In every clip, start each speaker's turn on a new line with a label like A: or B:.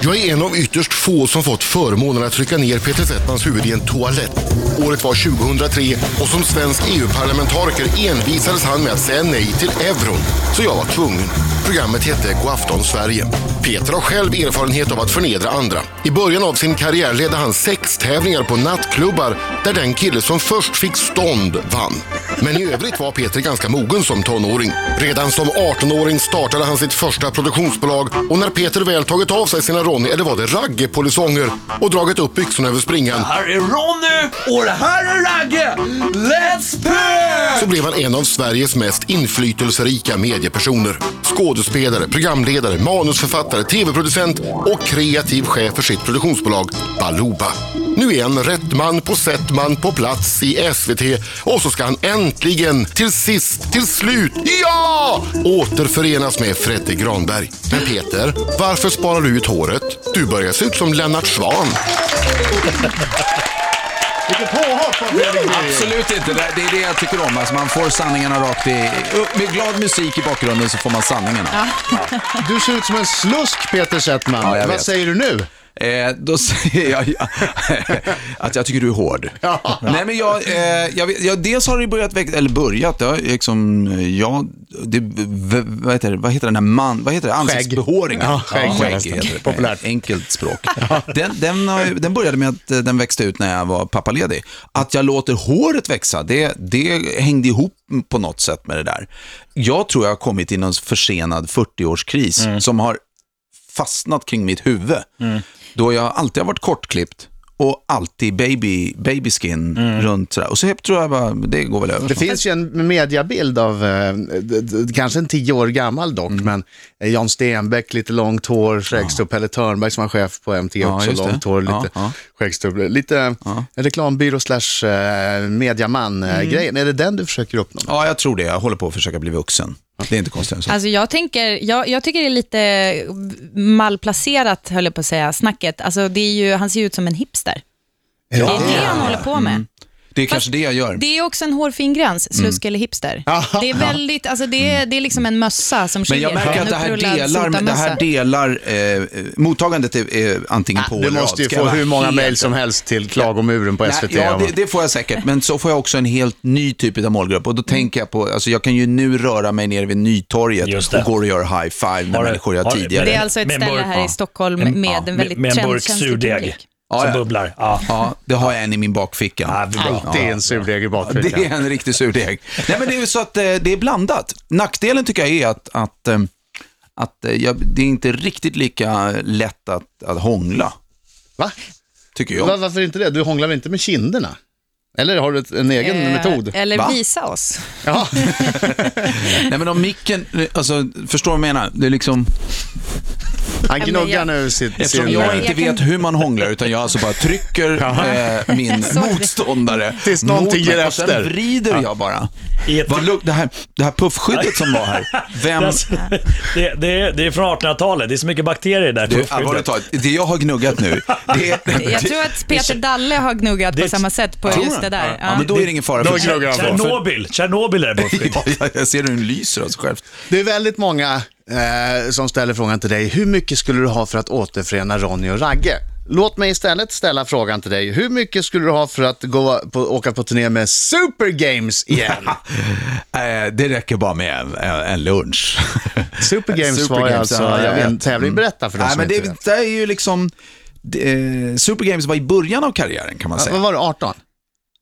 A: Jag är en av ytterst få som fått förmånen att trycka ner Peter Settmans huvud i en toalett. Året var 2003 och som svensk EU-parlamentariker envisades han med att säga nej till euron. Så jag var tvungen. Programmet hette God afton Sverige. Peter har själv erfarenhet av att förnedra andra. I början av sin karriär ledde han sextävlingar på nattklubbar där den kille som först fick stånd vann. Men i övrigt var Peter ganska mogen som tonåring. Redan som 18-åring startade han sitt första produktionsbolag och när Peter väl tagit av sig sina Ronny, eller var det Ragge-polisonger och dragit upp byxorna över springan
B: Här är Ronny och det här är Ragge. Let's play!
A: så blev han en av Sveriges mest inflytelserika mediepersoner. Skådespelare, programledare, manusförfattare, tv-producent och kreativ chef för sitt produktionsbolag Baluba. Nu är han rätt man på sätt man på plats i SVT och så ska han äntligen, till sist, till slut, ja! Återförenas med Fredde Granberg. Men Peter, varför sparar du ut håret? Du börjar se ut som Lennart Swahn.
C: Vilket påhopp av Fredrik Green.
D: Absolut inte. Det, det är det jag tycker om. Alltså man får sanningarna rakt i... upp Med glad musik i bakgrunden så får man sanningarna.
C: Du ser ut som en slusk, Peter Settman.
D: Ja, jag
C: Vad
D: vet.
C: säger du nu?
D: Eh, då säger jag att jag tycker du är hård.
C: Ja.
D: Nej, men jag, eh, jag, vet- jag, dels har det börjat växa, eller börjat, det har liksom, eh, ja, det, v, vad, heter det, vad heter den här man, vad heter det, ansiktsbehåringen?
C: Ja, skägg kallas det.
D: heter det.
C: Populärt.
D: Enkelt språk. Den, den, har ju- den började med att eh, den växte ut när jag var pappaledig. Att jag låter håret växa, det, det hängde ihop på något sätt med det där. Jag tror jag har kommit i någon försenad 40-årskris
C: Mm.
D: som har fastnat kring mitt huvud. Då jag alltid har varit kortklippt och alltid baby, baby skin runt sådär. Och så helt tror jag bara, det går väl över.
C: Det finns ju en mediabild av, eh, d- d- kanske en tio år gammal dock,
D: Mm.
C: men eh, Jan Stenbeck, lite långt hår, skäggstubb, Pelle Törnberg som var chef på MTG
D: Ja,
C: också,
D: just det.
C: långt hår,
D: Ja,
C: lite
D: ja.
C: skäggstubb, lite en reklambyrå slash eh, mediaman-grejen. Är det den du försöker uppnå?
D: Mm. Ja, jag tror det. Jag håller på att försöka bli vuxen. Det är inte konstigt än så.
E: Alltså jag, tänker, jag, jag tycker det är lite malplacerat, höll jag på att säga, snacket. Alltså det är ju, han ser ju ut som en hipster. Det är det han håller på med.
D: Det är kanske det jag gör.
E: Det är också en hårfin gräns, slusk eller hipster. Det är väldigt, alltså det är, det är liksom en mössa som
D: Men
E: skiljer.
D: jag märker
E: En
D: att det här
E: upprullad
D: delar, det här
E: sotamössa.
D: delar eh, mottagandet är, är antingen på
C: Ah, Du
D: eller
C: måste ju
D: av. Ska jag
C: få
D: vara
C: hur många
D: helt
C: mejl som helst till klagomuren på
D: Nej,
C: SVT.
D: Ja,
C: om-
D: det, det får jag säkert. Men så får jag också en helt ny typ av målgrupp.
E: Mm.
D: Och då tänker jag på, alltså jag kan ju nu röra mig nere vid
F: Just
D: Nytorget
F: det.
D: och går och gör high five med
F: Har du-
D: människor jag
F: har du-
D: tidigare...
E: Det är alltså ett
F: Med en
E: ställe
F: burk,
E: här
F: ja.
E: i Stockholm
F: En-
E: med
F: ja,
E: en
F: med-
E: väldigt
F: med en burk
E: trendkänslig
F: surdeg.
E: publik.
D: Ah, Ja, Ah,
F: som
D: ja.
F: bubblar. Ja.
D: Ja, det har jag en i min bakficka.
F: Ja, det är bra.
C: Alltid en surdeg i
D: Det är
C: bakfickan.
D: en riktig surdeg. Nej, men det är ju så att eh, det är blandat. Nackdelen tycker jag är att, att, eh, att eh, jag, det är inte riktigt lika lätt att, att hångla,
C: Va?
D: tycker
C: Va?
D: jag.
C: Varför inte det? Du hånglar väl inte med kinderna? Eller har du ett- en egen
E: Eh,
C: metod?
E: Eller
D: Va?
E: visa oss.
C: Ja.
D: Nej, men om micken, alltså, förstår du vad jag menar? Det är liksom,
C: Han
E: men
C: gnuggar
E: jag-
C: nu sitt,
D: eftersom
C: sin...
D: jag
C: eh,
D: inte vet hur man hånglar, utan jag alltså bara trycker eh, min
E: Sorry.
D: motståndare
C: Tills
D: mot
C: någonting
D: mig,
C: ger
D: och sen
C: efter.
D: vrider jag bara.
F: I ett-
D: Vad lugnt, det här, det här puffskyddet som var här, vem...
F: Alltså, det, det, är, det är från 1800-talet, det är så mycket bakterier där.
D: Du, allvarligt talat, det jag har gnuggat nu, det är...
E: Jag tror att Peter Dalle har gnuggat på
F: det-
E: samma sätt på
D: Tror
E: just
D: du?
E: det där.
D: Ja, men då är det ingen fara.
C: Då gnuggar han på.
F: Tjernobyl, Tjernobyl är det bortskydd.
D: Ja, jag- jag ser hur den lyser av sig själv.
C: Det är väldigt många eh, som ställer frågan till dig, hur mycket skulle du ha för att återförena Ronny och Ragge? Låt mig istället ställa frågan till dig, hur mycket skulle du ha för att gå på, åka på turné med Super Games igen?
D: Eh, det räcker bara med en, en, en lunch.
C: Super Games
D: Super
C: var ju
D: Games,
C: alltså
D: ja, jag
C: en
D: vet. Mm.
C: tävling, berätta för de
D: Nej,
C: som
D: men
C: inte
D: det,
C: vet.
D: det är ju liksom... Eh, Super Games var i början av karriären kan man
C: Vad
D: säga.
C: var det, 18?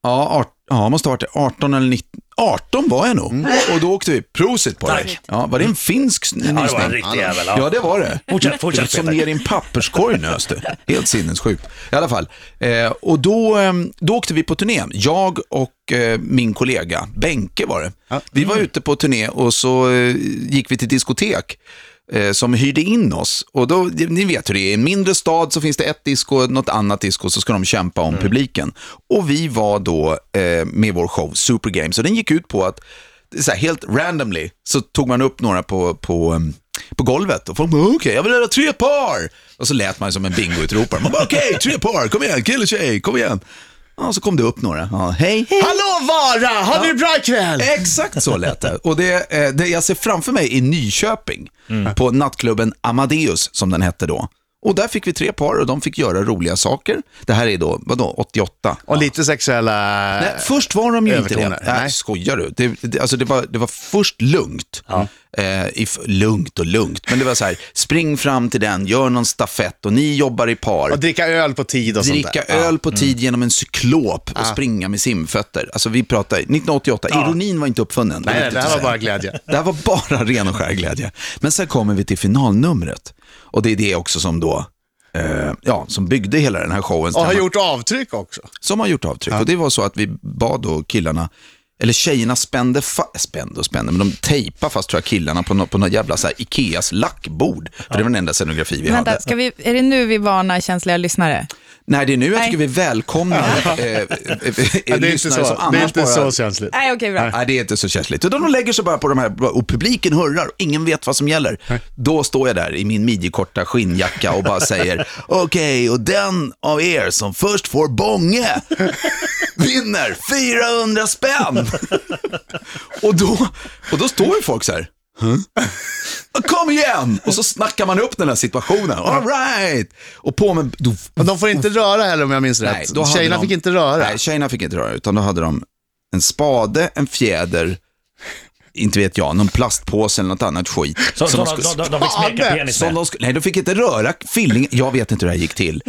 D: Ja, art, ja måste ha varit det. 18 eller 19. 18 var jag nog.
C: Mm.
D: Och då åkte vi prosit på det.
F: Tack.
D: Ja, var det en finsk sn-
F: Ja, det var en
D: nysning?
F: riktig jävel.
D: Ja, det var det.
F: Fortsätt, fortsätt,
D: Som
F: Peter.
D: ner i en papperskorg nös det. Helt sinnessjukt. I alla fall. Eh, och då, eh, då åkte vi på turné. Jag och eh, min kollega, Benke var det. Vi var ute på turné och så eh, gick vi till diskotek eh, som hyrde in oss. Och då, ni vet hur det är, i en mindre stad så finns det ett disco, något annat disco, så ska de kämpa om publiken. Och vi var då eh, med vår show Super Games och den gick ut på att så här, helt randomly så tog man upp några på, på, ehm, på golvet och folk bara, okej, jag vill ha tre par. Och så lät man som en bingoutropare. Man bara, okej, tre par, kom igen, kille tjej, kom igen. Ja, så kom det upp några. Ja, hej, hej.
C: Hallå Vara, har ni det bra ikväll?
D: Exakt så lät det. Och det, eh, det jag ser framför mig i Nyköping, på nattklubben Amadeus, som den hette då. Och där fick vi tre par och de fick göra roliga saker. Det här är då, vadå, 88?
C: Och lite sexuella...
D: Nej, först var de ju inte det.
C: övertoner.
D: Eh, Nej,
C: Nej.
D: skojar du? Det, det, alltså det, var, det var först lugnt. Eh, i, f- lugnt och lugnt, men det var så här, spring fram till den, gör någon stafett och ni jobbar i par.
C: Och dricka öl på tid och sånt
D: Dricka
C: där. Mm.
D: öl på tid genom en cyklop och springa med simfötter. Alltså vi pratar 1988, ironin var inte uppfunnen.
C: Nej, nej,
D: viktigt
C: det här
D: att
C: var
D: säga.
C: bara glädje.
D: Det här var bara ren och skär glädje. Men sen kommer vi till finalnumret. Och det är det också som då, eh, ja, som byggde hela den här showen.
C: Och har gjort avtryck också.
D: Som har gjort avtryck. Och det var så att vi bad då killarna, eller tjejerna spände, fa- spände och spände, men de tejpade fast tror jag killarna på något på nå jävla så här Ikeas lackbord. För det var den enda scenografi vi hade.
E: Vänta, ska vi, är det nu vi varnar känsliga lyssnare?
D: Nej, det är nu jag
E: Nej.
D: tycker vi välkomnar eh, eh, eh,
C: Ja, det är inte
D: lyssnare
C: så,
D: som
C: det är
D: annars
C: inte
D: bara...
C: så känsligt.
E: Nej, okej, bra.
D: Nej, det är inte så känsligt. Utan de lägger sig bara på de här och publiken hurrar och ingen vet vad som gäller. Då står jag där i min midjekorta skinnjacka och bara säger okej, och den av er som först får bånge vinner 400 spänn. och, då, och då står ju folk så här. "Huh? Kom igen! Och så snackar man upp den här situationen. All right! Och på med... Då,
C: Och de får inte röra heller om jag minns rätt.
D: då hade
C: Tjejerna
D: de-
C: fick inte röra.
D: Nej, tjejerna fick inte röra, utan då hade de en spade, en fjäder, inte vet jag, någon plastpåse eller något annat skit.
F: Så, så,
D: som
F: de,
D: de skulle-
F: de, de, de fick smeka
C: Fan,
F: penis
D: som
F: med.
D: de skulle- nej, de fick inte röra fillingen. Jag vet inte hur det här gick till.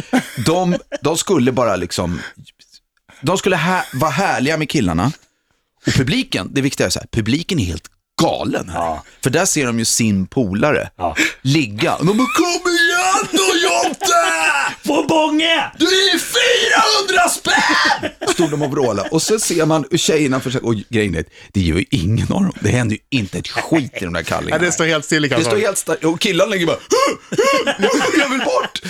D: De, de skulle bara liksom... De skulle här, vara härliga med killarna. Och publiken, det viktiga är så här, publiken är helt galen här. För där ser de ju sin polare ligga. Och de bara, kom igen då Jonte!
F: Få bånge!
D: Du är 400 spänn! Stod de och vrålade. Och så ser man hur tjejerna försöker, och grejen är, att det gör ju ingen av dem. Det händer ju inte ett skit i de där kallingarna.
C: Nej, det står helt still i
D: Det står
C: kassan.
D: helt starkt. Och killarna ligger bara, "Huh, huh, huh, jag vill bort.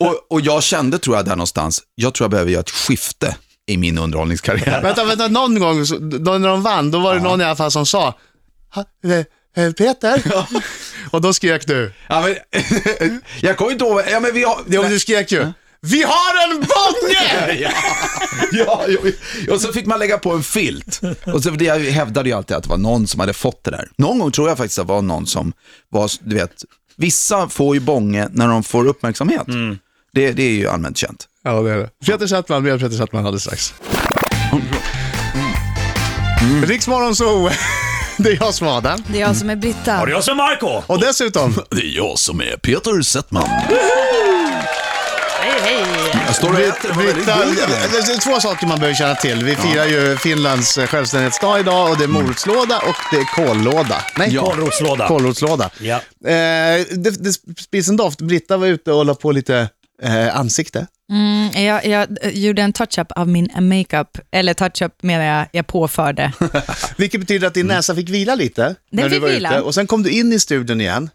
D: Och, och jag kände, tror jag, där någonstans, jag tror jag behöver göra ett skifte i min underhållningskarriär.
C: Vänta, vänta, någon gång så- då, när de vann, då var det någon i alla fall som sa "Ha, eh, eh, Peter. Och då skrek du.
D: Ja, men, jag kommer inte ihåg, ja, men vi har...
C: Jo, men du skrek ju. Vi har en bonge!
D: Ja, ja, ja. Och så fick man lägga på en filt. Och så, för det jag hävdade ju alltid att det var någon som hade fått det där. Någon gång tror jag faktiskt att det var någon som var, du vet, vissa får ju bånge när de får uppmärksamhet.
C: Mm.
D: Det, det är ju allmänt känt.
C: Ja, det är det. Peter Settman, mer Peter Settman alldeles strax. Mm. Riksmorgon Zoo, det är jag som är Adam.
E: Det är jag som är Britta.
F: Har jag som Marco?
C: Och dessutom,
D: Det är jag som är Peter Settman.
E: Hej, hej.
D: Jag står och äter, den var väldigt
C: Britta,
D: god. eller?
C: det är två saker man behöver känna till. Vi firar ju Finlands självständighetsdag idag och det är
E: Mm.
C: morotslåda och det är kållåda. Nej,
D: Ja.
F: Kålrotslåda.
C: kålrotslåda.
F: Ja.
C: Eh, det, det spils en doft. Britta var ute och la på lite eh, ansikte.
E: Jag, jag eh, gjorde en touch-up av min makeup, eller touch-up menar jag, jag påförde.
C: Vilket betyder att din näsa fick vila lite när du
E: Mm. fick
C: var
E: vila. Mm.
C: ute. Och sen kom du in i studion igen,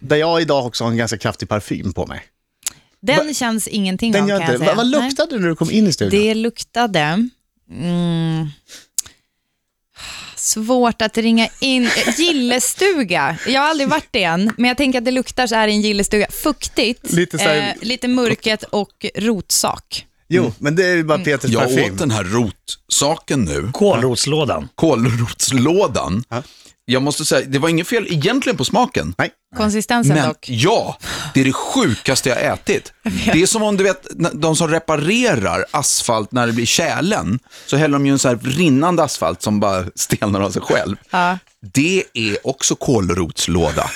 C: där jag idag också har en ganska kraftig parfym på mig.
E: Den känns ingenting
C: Den
E: av
C: gör
E: kan
C: inte.
E: jag säga.
C: Vad, vad
E: Nej.
C: luktade du när du kom in i studion?
E: Det luktade... Mm, svårt att ringa in. Eh, Gillestuga. Jag har aldrig varit det än, men jag tänker att det luktar så här i en gillestuga. Fuktigt, eh,
C: Lite så här-
E: lite mörket och rotsak.
C: Jo, men det är ju bara
E: Mm.
C: Peters
D: Jag
C: parfym.
D: åt den här rotsaken nu.
F: Kålrotslådan.
D: Kålrotslådan. Jag måste säga, det var inget fel egentligen på smaken.
C: Nej.
E: Konsistensen
D: Men
E: dock.
D: ja, det är det sjukaste jag ätit. Det är som om du vet, när- de som reparerar asfalt när det blir tjälen, så häller de ju en så här rinnande asfalt som bara stelnar av sig själv.
E: Ja.
D: Det är också kålrotslåda.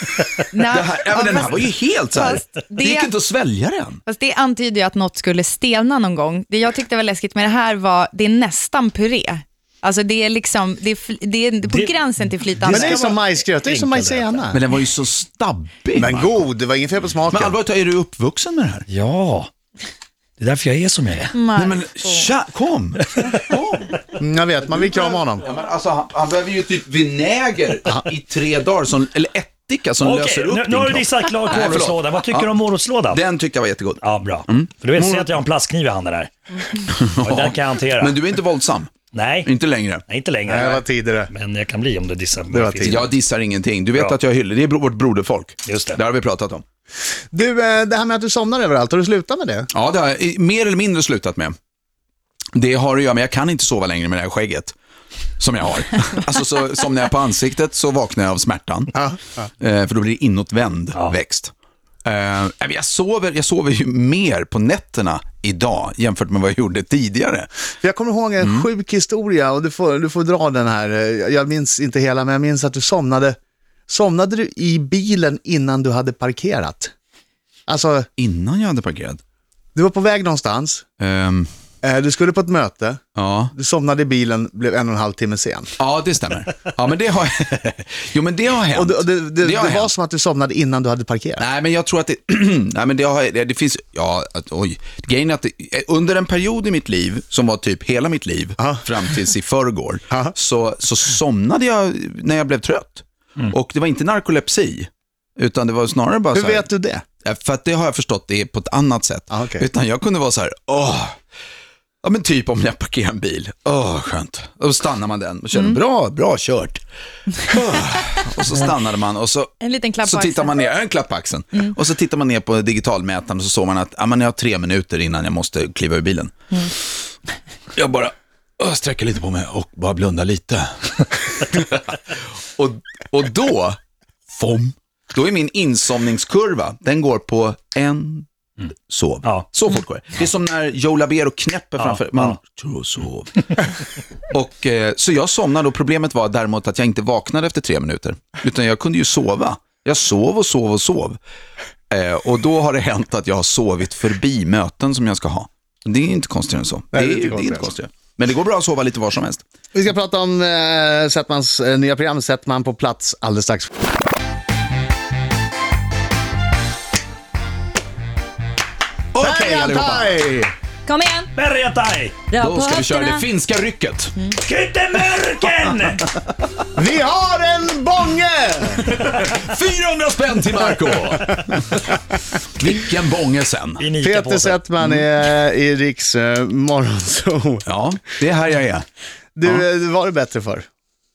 E: Nej,
D: Det här, ja, men den här
E: fast-
D: var ju helt så här,
E: fast
D: det...
E: det-
D: gick inte att svälja den.
E: Fast det antyder ju att något skulle stelna någon gång. Det jag tyckte var läskigt med det här var, det är nästan puré. Alltså det är liksom, det är, fl- det är på
F: Det-
E: gränsen till flytande.
C: Men det är som majsgröt, det är som
F: Enkel
C: majsena.
D: Men den var ju så stabbig.
C: Men god, det var inget fel på smaken.
D: Men allvarligt, är du uppvuxen med det här?
F: Ja. Det är därför jag är som jag är.
D: Nej men tja, kom! kom.
C: Mm, Jag vet, man vill krama honom.
D: Ja, men alltså, han, han behöver ju typ vinäger i tre dagar, som, eller ättika som löser
F: Okej,
D: upp
F: nu,
D: din
F: nu har du
D: kropp.
F: dissat klart
D: Nej, förlåt.
F: kålrotslådan. Vad tycker
D: Ja. Mm.
F: du om morotslådan?
D: Den tyckte jag var jättegod.
F: Ja, bra. För du vet, se att jag har en plastkniv i handen här. Och den kan jag hantera.
D: Men du är inte våldsam,
F: Nej,
D: inte längre.
F: Nej, inte längre.
C: Nej, det var tidigare.
F: Men jag kan bli om du dissar
C: var
F: mig.
C: tid.
D: Jag dissar ingenting. Du vet
F: Bra.
D: att jag hyllar, det är bro- vårt broderfolk.
F: Just det.
D: har vi pratat om.
C: Du, eh, det här med att du somnar överallt, har du slutat med det?
D: Ja, det har jag i- mer eller mindre slutat med. Det har att göra med, jag kan inte sova längre med det här skägget. Som jag har. Alltså så, som när jag är på ansiktet så vaknar jag av smärtan. Eh, För då blir det inåtvänd växt. Eh, nej, men jag, sover, jag sover ju mer på nätterna idag jämfört med vad jag gjorde tidigare.
C: För jag kommer ihåg en sjuk historia och du får, du får dra den här. Eh, Jag minns inte hela, men jag minns att du somnade. Somnade du i bilen innan du hade parkerat? Alltså,
D: Innan jag hade parkerat.
C: du var på väg någonstans,
D: Ehm,
C: eh, du skulle på ett möte,
D: ja.
C: du somnade i bilen, blev en och en halv timme sen.
D: ja, det stämmer. Ja, men det har, jo, men det har hänt.
C: Och det, och det, det, det,
D: har hänt.
C: var som att du somnade innan du hade parkerat.
D: Nej, men jag tror att det, nej, men det, har, det, det finns, ja, att, oj. Grejen är att det, under en period i mitt liv, som var typ hela mitt liv, fram tills i förrgår,
C: Aha.
D: så, så somnade jag när jag blev trött. Och det var inte narkolepsi, utan det var snarare bara
C: Mm. Hur
D: så här,
C: vet du det?
D: Ja, Eh, För att det har jag förstått det är på ett annat sätt.
C: Ah, okej.
D: Utan jag kunde vara så här, åh, ja men typ om jag parkerar en bil, åh skönt. Och så stannar man den och
C: Mm.
D: känner, bra, bra kört. Åh. och så stannade man och så,
E: En liten klapp
D: så
E: på
D: tittar
E: axeln.
D: man ner, en klapp på axeln. Och så tittar man ner på digitalmätaren och så såg man att, ja men jag har tre minuter innan jag måste kliva ur bilen. Jag bara, åh, sträcker lite på mig och bara blundar lite. och, och då, fom, då är min insomningskurva, den går på en sov.
F: Ja.
D: Så fort går det. Det är som när Joe Labero knäpper framför, man tror och sov. och, eh, så jag somnade och problemet var däremot att jag inte vaknade efter tre minuter, utan jag kunde ju sova. Jag sov och sov och sov. Eh, och då har det hänt att jag har sovit förbi möten som jag ska ha. Det är inte konstigare än så.
C: Nej,
D: det, är, det är inte konstigare. Men det går bra att sova lite var som helst.
C: Vi ska prata om eh, Settmans eh, nya program, Settman på plats, alldeles strax.
D: Okej allihopa,
C: Bergantaj!
E: Kom igen!
F: Bergataj!
E: Dra
D: då
E: på
D: ska vi köra det
E: höfterna.
D: finska rycket.
F: Kyttemörken!
C: Vi har en bånge!
D: 400 spänn till Marco Vilken bånge sen.
F: I en
C: Peter
F: Ica-påse.
C: Settman är eh, i Riks eh, morgonzoo.
D: Ja, det är här jag är.
C: Du, eh, det var det bättre för.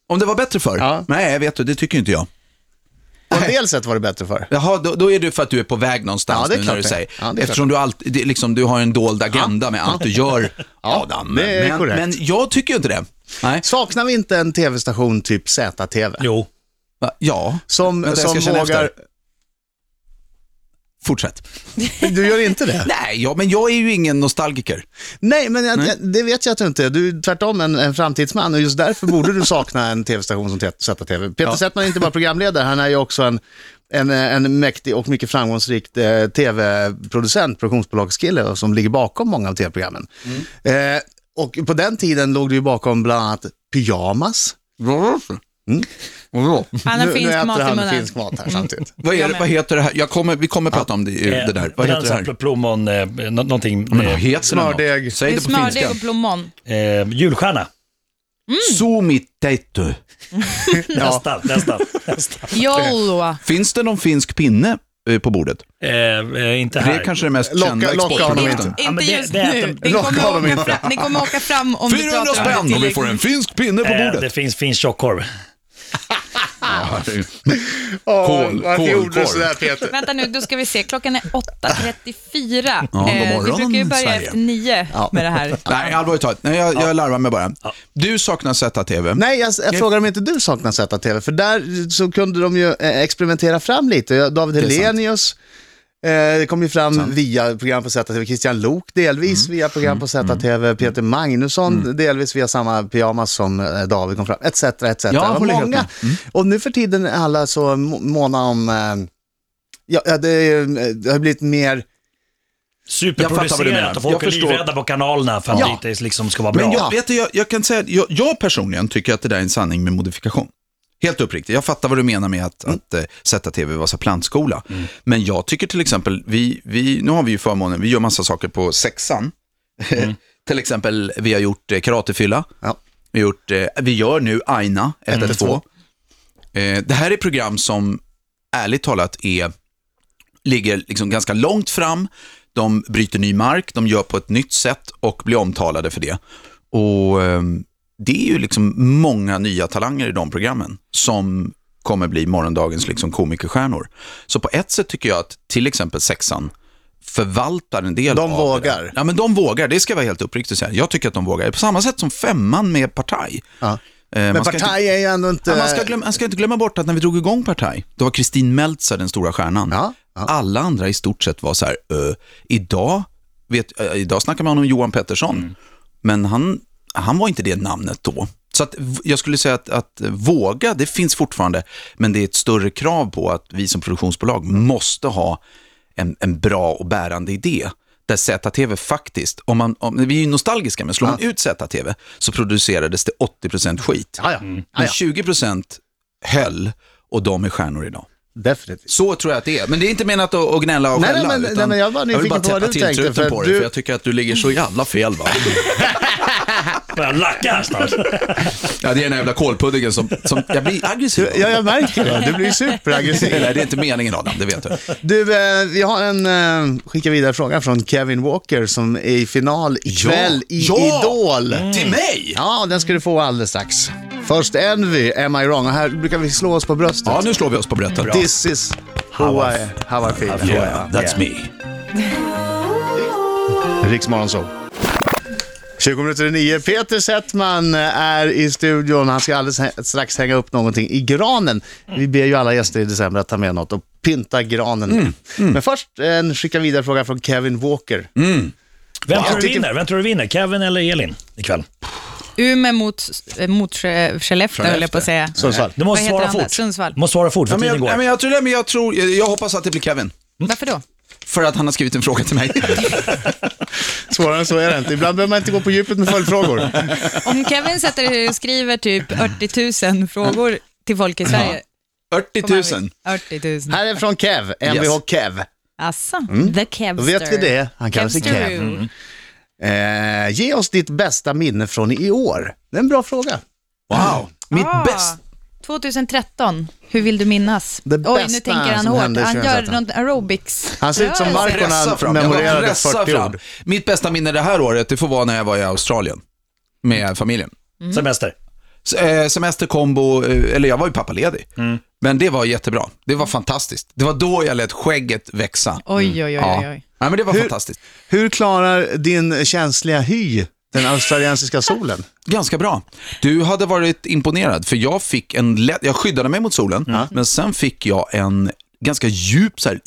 D: Om det var bättre förr?
C: Ja.
D: Nej, vet du, det tycker inte jag.
C: På en del sätt var det bättre för.
D: Jaha, då, då är det för att du är på väg någonstans
C: Ja, det är
D: nu
C: klart
D: när du
C: det.
D: säger.
C: Ja, det är klart
D: Eftersom du, alltid, det, är liksom, du har en dold agenda med allt du gör, Adam.
C: det är
D: men,
C: korrekt.
D: men jag tycker ju inte det. Nej.
C: Saknar vi inte en tv-station typ ZTV?
F: Jo.
D: Va? Ja,
C: Som,
D: Vänta, jag
C: som
D: ska känna
C: vågar...
D: efter. fortsätt.
C: Du gör inte det?
D: Nej, ja, men jag är ju ingen nostalgiker.
C: Nej, men jag, det vet jag att du inte är. Du är tvärtom en, en framtidsman och just därför borde du sakna en tv-station som Te- ZTV. Peter
D: Ja.
C: Settman är inte bara programledare, han är ju också en, en, eh, en mäktig och mycket framgångsrik eh, tv-producent, produktionsbolagskille och som ligger bakom många av tv-programmen.
D: Mm.
C: Eh, och på den tiden låg du ju bakom bland annat Pyjamas.
D: Mm.
E: Han har
C: nu, nu
E: finsk
C: äter
E: mat i
C: han
E: munnen.
C: finsk mat här samtidigt.
D: Vad, är det, vad heter det här? Jag kommer, vi kommer prata om det,
F: Eh,
D: det där. Vad heter det här?
F: Pl- Plommon, eh, nå- någonting.
D: Men
F: eh,
D: vad heter det något?
C: Smördeg.
E: Det
D: Säg
E: är
D: det på finska.
E: smördeg och plommon.
F: Eh, julstjärna.
D: Mm. Sumitetu.
C: Ja.
F: Nästan, nästan. nästan.
E: Jolloa.
D: Finns det någon finsk pinne eh, på bordet?
F: Eh, eh, inte
D: Det
F: här.
D: är kanske det mest
C: Locka-
D: kända
C: locka honom
E: Inte,
D: exportprodukten.
C: inte.
F: Ja, men
E: inte
F: det-
E: just
F: det äter-
E: nu.
C: Rocka
E: Ni
C: honom
E: kommer,
C: inte.
E: åka fram, ni kommer åka fram om vi
D: 400
E: pratar om
D: spänn
E: det
D: om vi får en
E: tillräckligt.
D: finsk pinne på
F: Eh, det
D: bordet.
F: finns finsk tjockkorv.
D: Kol,
C: varför
D: kol,
C: gjorde
D: kol.
C: du sådär Peter?
E: Vänta nu, då ska vi se. Klockan är 8.34.
D: god
E: vi
D: morgon,
E: brukar ju börja
D: Sverige.
E: efter nio med det här.
D: Nej, allvarligt talat. Nej, jag, jag larvar mig bara. Du saknar ZTV.
C: Nej, jag, jag frågar om inte du saknar ZTV, för där så kunde de ju eh, experimentera fram lite. Jag- David
D: är sant.
C: Helenius eh, det kom ju fram via program på ZTV, Christian Lok delvis
D: Mm.
C: via program på ZTV, Peter Magnusson delvis via samma pyjamas som eh, David kom fram, etc. etc. Det var
D: håller helt
C: många.
D: med. Mm.
C: Och nu för tiden är alla så må- måna om, eh, ja, ja, det, är ju, eh, det har blivit mer
D: Jag fattar vad du menar.
F: Superproducerat och folk
D: Jag
F: är
D: förstår.
F: livrädda på kanalerna för att
C: Ja.
F: det inte liksom ska vara bra.
D: Men jag, vet du, jag, jag kan säga, att jag, jag personligen tycker att det där är en sanning med modifikation. Helt uppriktigt, jag fattar vad du menar med att, att eh, sätta tv var så plantskola. Men jag tycker till exempel, vi, vi, nu har vi ju förmånen, vi gör massa saker på sexan. till exempel, vi har gjort eh, karatefylla,
C: Ja.
D: vi, har gjort, eh, vi gör nu Aina 112. Eh, det här är program som ärligt talat är, ligger liksom ganska långt fram. De bryter ny mark, de gör på ett nytt sätt och blir omtalade för det. Och eh, det är ju liksom många nya talanger i de programmen som kommer bli morgondagens liksom komikerstjärnor. Så på ett sätt tycker jag att till exempel sexan förvaltar en del
C: De
D: av
C: vågar.
D: det. där. Ja, men de vågar. Det ska jag vara helt uppriktig och säga. Jag tycker att de vågar. På samma sätt som femman med Partaj.
C: Ja.
D: Eh,
C: Men
D: man ska inte-
C: Partaj är ju ändå inte...
D: Ja, man, ska glömma, man ska inte glömma bort att när vi drog igång Partaj, då var Kristin Meltzer den stora stjärnan.
C: Ja.
D: Alla andra i stort sett var så här, "Ö, idag, vet, ö, idag snackar man om Johan Pettersson, men han, han var inte det namnet då. Så att, v- jag skulle säga att, att våga, det finns fortfarande, men det är ett större krav på att vi som produktionsbolag måste ha en, en bra och bärande idé. Där ZTV faktiskt, om man, om, vi är ju nostalgiska, men slår man ut ZTV så producerades det 80% skit.
C: Ja, ja. Ja,
D: Men
C: Ah, ja.
D: 20% höll och de är stjärnor idag.
C: Definitivt.
D: Så tror jag att det är. Men det är inte menat att att gnälla och
C: Nej,
D: skälla.
C: nej, men-
D: utan
C: nej, men jag var
D: vill
C: nyfiken
D: bara
C: på vad
D: täppa
C: du
D: till
C: tänkte,
D: truten
C: för
D: på
C: du-
D: dig, för jag tycker att du ligger så jävla fel. Va?
F: Börjar lacka snart.
D: Ja, det är den här jävla kålpuddingen som, som... Jag blir aggressiv.
C: Ja, jag märker det. Du blir superaggressiv.
D: Nej, det är inte meningen Adam, det vet du.
C: Du, eh, vi har en eh, skicka vidare fråga från Kevin Walker som är i final ikväll i
D: Ja!
C: Idol.
D: Till mig?
C: Ja, den ska du få alldeles strax. Först Envy, Am I wrong? Och här brukar vi slå oss på bröstet.
D: Ja, nu slår vi oss på brätten.
C: This is who I, how I feel.
D: Yeah, that's me.
C: Riksmorgon så. 20 minuter i nio. Peter Settman eh, är i studion. Han ska alldeles hä- strax hänga upp någonting i granen. Vi ber ju alla gäster i december att ta med något och pynta granen. Men först en skicka vidare fråga från Kevin Walker.
F: Vem tror, du
C: tycker-
F: vinner? Vem tror du vinner? Kevin eller Elin ikväll?
E: Umeå mot, eh, mot Skellefteå, Skellefteå höll jag på att säga.
C: Sundsvall.
F: Du måste
E: Vad heter
F: svara
E: han där?
F: fort.
E: Sundsvall.
F: Du måste svara fort, för
D: Ja, men
F: tiden
D: jag,
F: går.
D: ja, men jag, tror, nej, men jag, tror, jag hoppas att det blir Kevin,
E: Varför då?
D: för att han har skrivit en fråga till mig.
C: Svårare än så är det inte. Ibland behöver man inte gå på djupet med följdfrågor.
E: Om Kevin sätter sig och skriver typ 80 000 frågor till folk i Sverige.
D: 40 000.
E: 80 000.
C: Här är från Kev, MVH
D: Yes.
C: Kev.
E: Asså, the
C: Då
E: Kevster.
C: vet vi det. Han kallar sig
E: Kevster.
C: Kev. Mm. Eh, ge oss ditt bästa minne från i år. Det är en bra fråga.
D: Wow. Mitt
E: Ah,
D: bäst...
E: 2013, hur vill du minnas?
C: Det
E: Oj, nu
C: bästa
E: tänker han
C: som
E: hårt. Han
C: hände
E: gör
C: 2013.
E: någon aerobics.
C: Han ser ut som
E: rörelse.
C: Marco.
D: pressa fram.
C: memorerade
D: Jag bara pressar
C: 40
D: fram.
C: ord.
D: Mitt bästa minne det här året, det får vara när jag var i Australien med familjen.
F: Semester.
D: S- eh, Semesterkombo, eh, eller jag var ju pappaledig. Men det var jättebra. Det var fantastiskt. Det var då jag lät skägget växa.
E: Oj, oj, oj, oj.
D: Ja.
E: oj.
D: ja, men det var fantastiskt.
C: Hur klarar din känsliga hy den australiensiska solen?
D: Ganska bra. Du hade varit imponerad, för jag fick en lätt, jag skyddade mig mot solen, men sen fick jag en ganska djup så här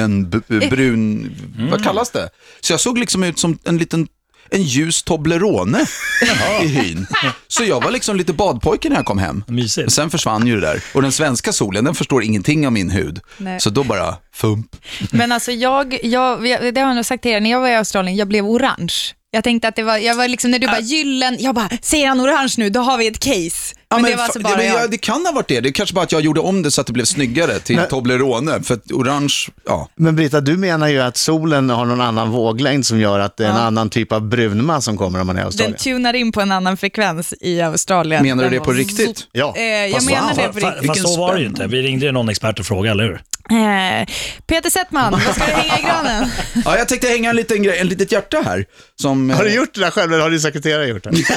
E: Eh.
D: gyllenbrun, vad kallas det? Så jag såg liksom ut som en liten en ljus Toblerone i hyn. Så jag var liksom lite badpojke när jag kom hem.
F: Mysigt.
D: Sen försvann ju det där. Och den svenska solen, den förstår ingenting av min hud.
E: Nej.
D: Så då bara, fump.
E: Men alltså jag, jag, det har jag nog sagt till er, när jag var i Australien, jag blev orange. Jag tänkte att det var, jag var liksom när du bara
D: Äh.
E: gyllen, jag bara, säger han orange nu, då har vi ett case. Men, det var alltså
D: fa-
E: bara
D: men
E: jag.
D: det kan ha varit det. Det är kanske bara att jag gjorde om det så att det blev snyggare till Toblerone. För att orange, ja.
C: Men Brita, du menar ju att solen har någon annan våglängd som gör att det är en annan typ av brunma som kommer om man är i
E: Den
C: Australien.
E: tunar in på en annan frekvens i Australien.
D: Menar du
E: Den
D: det på
E: var-
D: riktigt?
C: Ja.
E: Eh, jag
D: Fast
E: menar
D: wow.
E: det på
F: Fa-
E: riktigt.
F: Fast så var det ju
D: spännande.
F: inte. Vi ringde ju någon expert och frågade, eller hur?
E: Eh, Peter Settman, vad ska du hänga i granen?
D: Ja, jag tänkte hänga en liten grej, en litet hjärta här. Som,
C: Har du gjort det där själv eller har din sekreterare gjort det?
D: eh,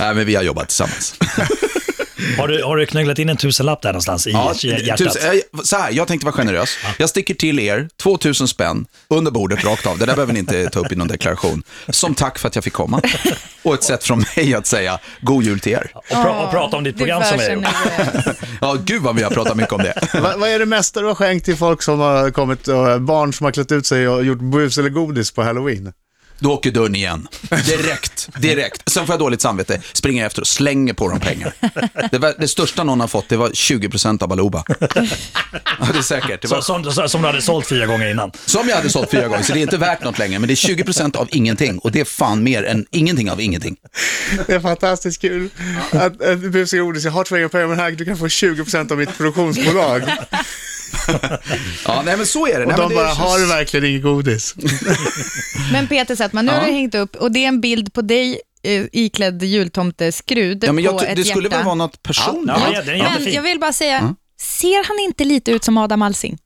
D: Nej, men vi har jobbat tillsammans.
F: Har du, har du knögglat in en tusenlapp där någonstans i hjärtat?
D: tusen- eh, så här, jag tänkte vara generös. Jag sticker till er 2000 spänn under bordet rakt av. Det där behöver ni inte ta upp i någon deklaration. Som tack för att jag fick komma. Och ett sätt från mig att säga god jul till er.
F: Och, pra- och prata om ditt
E: Du
F: program
E: var
F: som vi har gjort.
E: generös.
D: Ja, gud vad vi har pratat mycket om det.
C: Va, vad är det mesta du har skänkt till folk som har kommit, och barn som har klätt ut sig och gjort bus eller godis på halloween?
D: Då åker dörren igen. Direkt, direkt. Sen får jag dåligt samvete, springer efter och slänger på dem pengar. Det, var, det största någon har fått, det var 20% av Baluba. Ja, det är säkert. Det var
F: Så, som, så- som du hade sålt fyra gånger innan.
D: Som jag hade sålt fyra gånger, så det är inte värt något längre. Men det är 20% av ingenting och det är fan mer än ingenting av ingenting.
C: Det är fantastiskt kul att, att bus och godis, jag har två egna pengar men här, du kan få 20% av mitt produktionsbolag.
D: Ja, nej men så är det. nej,
C: Och
D: men
C: de
D: det
C: bara,
D: känns-
C: har du verkligen inget godis?
E: Men Peter Settman, nu har du hängt upp och det är en bild på dig eh, iklädd jultomteskrud
D: Ja, men
E: på
D: jag,
E: ett
D: det skulle
E: hjärta.
D: väl vara något personligt?
F: Ja, det är- det är
E: Men
F: jättefin.
E: jag vill bara säga,
D: Mm.
E: ser han inte lite ut som Adam Alsing?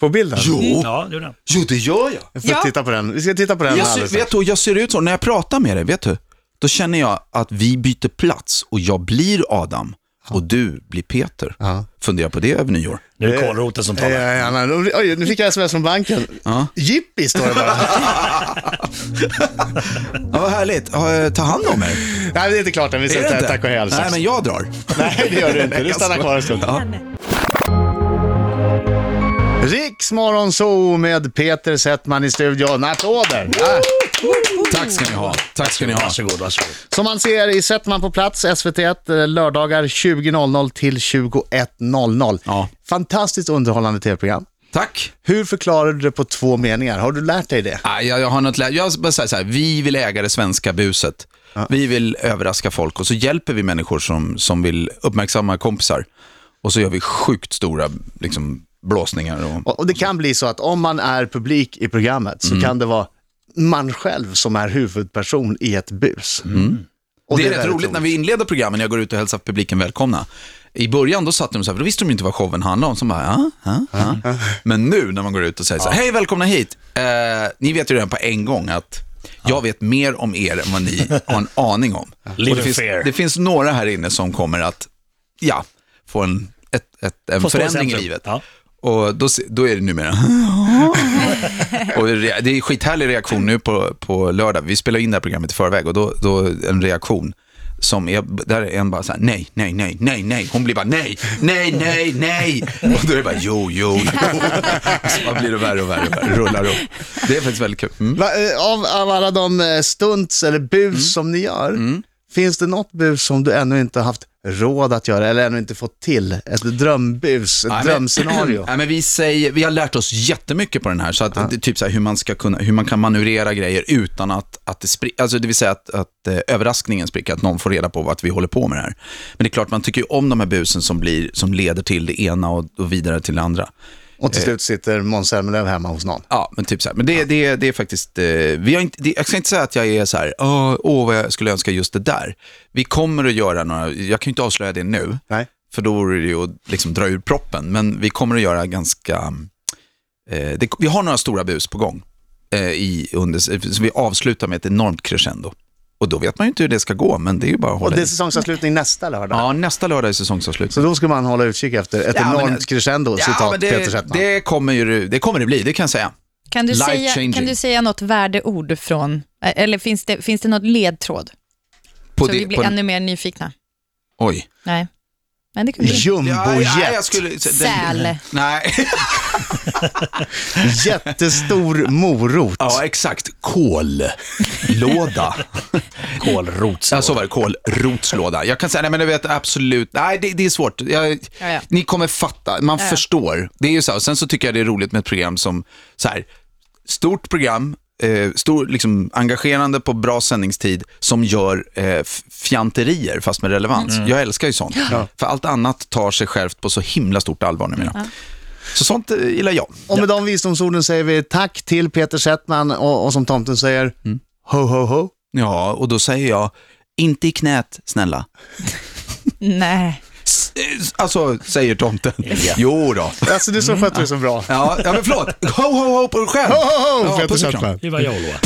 C: På bilden?
D: Jo,
F: Ja, det gjorde han.
D: jo, det gör jag.
C: Vi får
E: Ja.
C: titta på den. Vi ska titta på den liksom.
D: Jag
C: alldeles
D: ser,
C: strax.
D: vet du, jag ser ut så, när jag pratar med dig, vet du, då känner jag att vi byter plats och jag blir Adam och du blir Peter.
C: Ja.
D: Funderar på det över nyår.
F: Nu är det kålroten som
C: Ja,
F: talar.
C: ja, ja, men- Oj, nu fick jag sms från banken. Jippi står det bara.
D: Ja, vad härligt. Ja, eh, Ta hand om er.
C: Nej, det är inte klart än. Vi
D: Är det
C: säger
D: inte?
C: tack och hej alldeles
D: Nej,
C: strax.
D: men jag drar.
C: Nej, det gör du inte. Du stannar kvar en stund.
D: Ja.
C: Riksmorgonzoo med Peter Settman i studion. Applåder! Ja.
D: Tack ska ni ha. Tack ska ni ha.
F: Varsågod, varsågod.
C: Som man ser i Settman på plats, SVT1, eh, lördagar 20.00 till 21.00.
D: Ja.
C: Fantastiskt underhållande tv-program.
D: Tack.
C: Hur förklarar du det på två meningar? Har du lärt dig det?
D: Nej, Ah, jag, jag har något lä- Jag bara säger så här, vi vill äga det svenska buset. Vi vill överraska folk och så hjälper vi människor som, som vill uppmärksamma kompisar. Och så gör vi sjukt stora liksom, blåsningar. Och,
C: Och, och det kan bli så att om man är publik i programmet
D: Mm.
C: så kan det vara man själv som är huvudperson i ett bus. Och
D: Mm. det är, rätt
C: väldigt
D: roligt, när vi inleder programmen, när jag går ut och hälsar publiken välkomna. I början då satt de så här, för då visste de inte vad showen handlade om. Så bara, ja, ja,
F: Mm.
D: ja. Men nu när man går ut och säger så här, hej välkomna hit. Eh, ni vet ju redan på en gång att jag vet mer om er än vad ni har en aning om.
F: Live
D: Och det,
F: in
D: finns,
F: fear.
D: det finns några här inne som kommer att, ja, få en, ett, ett, en
F: Få stå i
D: förändring i
F: centrum.
D: livet.
F: Ja.
D: Och då, se- då är det numera... och re- det är skithärlig reaktion nu på, på lördag. Vi spelar in det här programmet i förväg och då, då en reaktion som är, där är en bara så här, nej, nej, nej, nej, nej. Hon blir bara nej, nej, nej, nej. Och då är det bara jo, jo, jo. Så bara blir det värre och värre och värre, rullar upp. Det är faktiskt väldigt kul. Mm.
C: Va, eh, av, av alla de eh, stunts eller bus som ni gör,
D: Mm.
C: finns det något bus som du ännu inte har haft råd att göra eller ännu inte fått till? Ett drömbus, ett
D: Nej, men-
C: drömscenario?
D: Nej, men vi, säger, vi har lärt oss jättemycket på den här, så att, det, är typ så här, hur, man ska kunna, hur man kan manövrera grejer utan att, att det spricker, alltså det vill säga att, att eh, överraskningen spricker, att någon får reda på att vi håller på med det här. Men det är klart, man tycker ju om de här busen som, blir, som leder till det ena och, och vidare till det andra.
C: och till slut sitter Måns Zelmerlöw hemma hos någon.
D: Ja, men typ så här. Men det, det, det är faktiskt, eh, vi har inte, det, jag ska inte säga att jag är så här, åh, åh vad jag skulle önska just det där. Vi kommer att göra några, jag kan ju inte avslöja det nu,
C: Nej.
D: för då vore det ju att liksom dra ur proppen. Men vi kommer att göra ganska... Eh, det, vi har några stora bus på gång. Eh, i, under, så vi avslutar med ett enormt crescendo. Och då vet man ju inte hur det ska gå, men det är ju bara att
C: Och
D: hålla
C: det är
D: i.
C: säsongsavslutning nästa lördag.
D: Ja, nästa lördag är säsongsavslut.
C: Så då ska man hålla utkik efter ett
D: Ja, men-
C: enormt crescendo, citat
D: men
C: Peter
D: det,
C: Settman.
D: det, kommer ju, det kommer det bli, det kan jag säga.
E: Kan du,
D: Life
E: säga,
D: changing.
E: kan du säga något värdeord från, eh, eller finns det, finns det något ledtråd?
D: På
E: så
D: det-
E: vi blir
D: på-
E: ännu mer nyfikna.
D: Oj.
E: Nej, men det kunde vi.
D: Ja, ja, jag
C: Jumbojet,
D: skulle- den-
E: Säl.
D: Nej.
C: jättestor morot.
D: Ja, exakt. Kållåda.
F: Kålrotslåda.
D: Ja, så var det. Kålrotslåda. Jag kan säga, nej men du vet absolut, nej det, det är svårt. Jag,
E: Ja, ja.
D: Ni kommer fatta, man förstår. Det är ju så här, och sen så tycker jag det är roligt med ett program som, så här, stort program, eh, stor, liksom, engagerande på bra sändningstid, som gör eh, f- fjanterier fast med relevans.
E: Mm.
D: Jag älskar ju sånt. För allt annat tar sig självt på så himla stort allvar numera. Så sånt eh, gillar jag.
C: Och med de visdomsorden säger vi tack till Peter Settman och, och som tomten säger,
D: Mm.
C: ho ho ho.
D: Ja, och då säger jag, inte i knät, snälla.
E: Nej.
D: S- eh, Alltså, säger tomten. Jo då.
C: Alltså du som sköter det så bra.
D: Ja, ja men förlåt. Ho, ho, ho på dig själv.
C: Ho ho ho,
D: Ja,
C: Peter
D: puss och kram.
C: Settman.
F: Det var jag och Loa.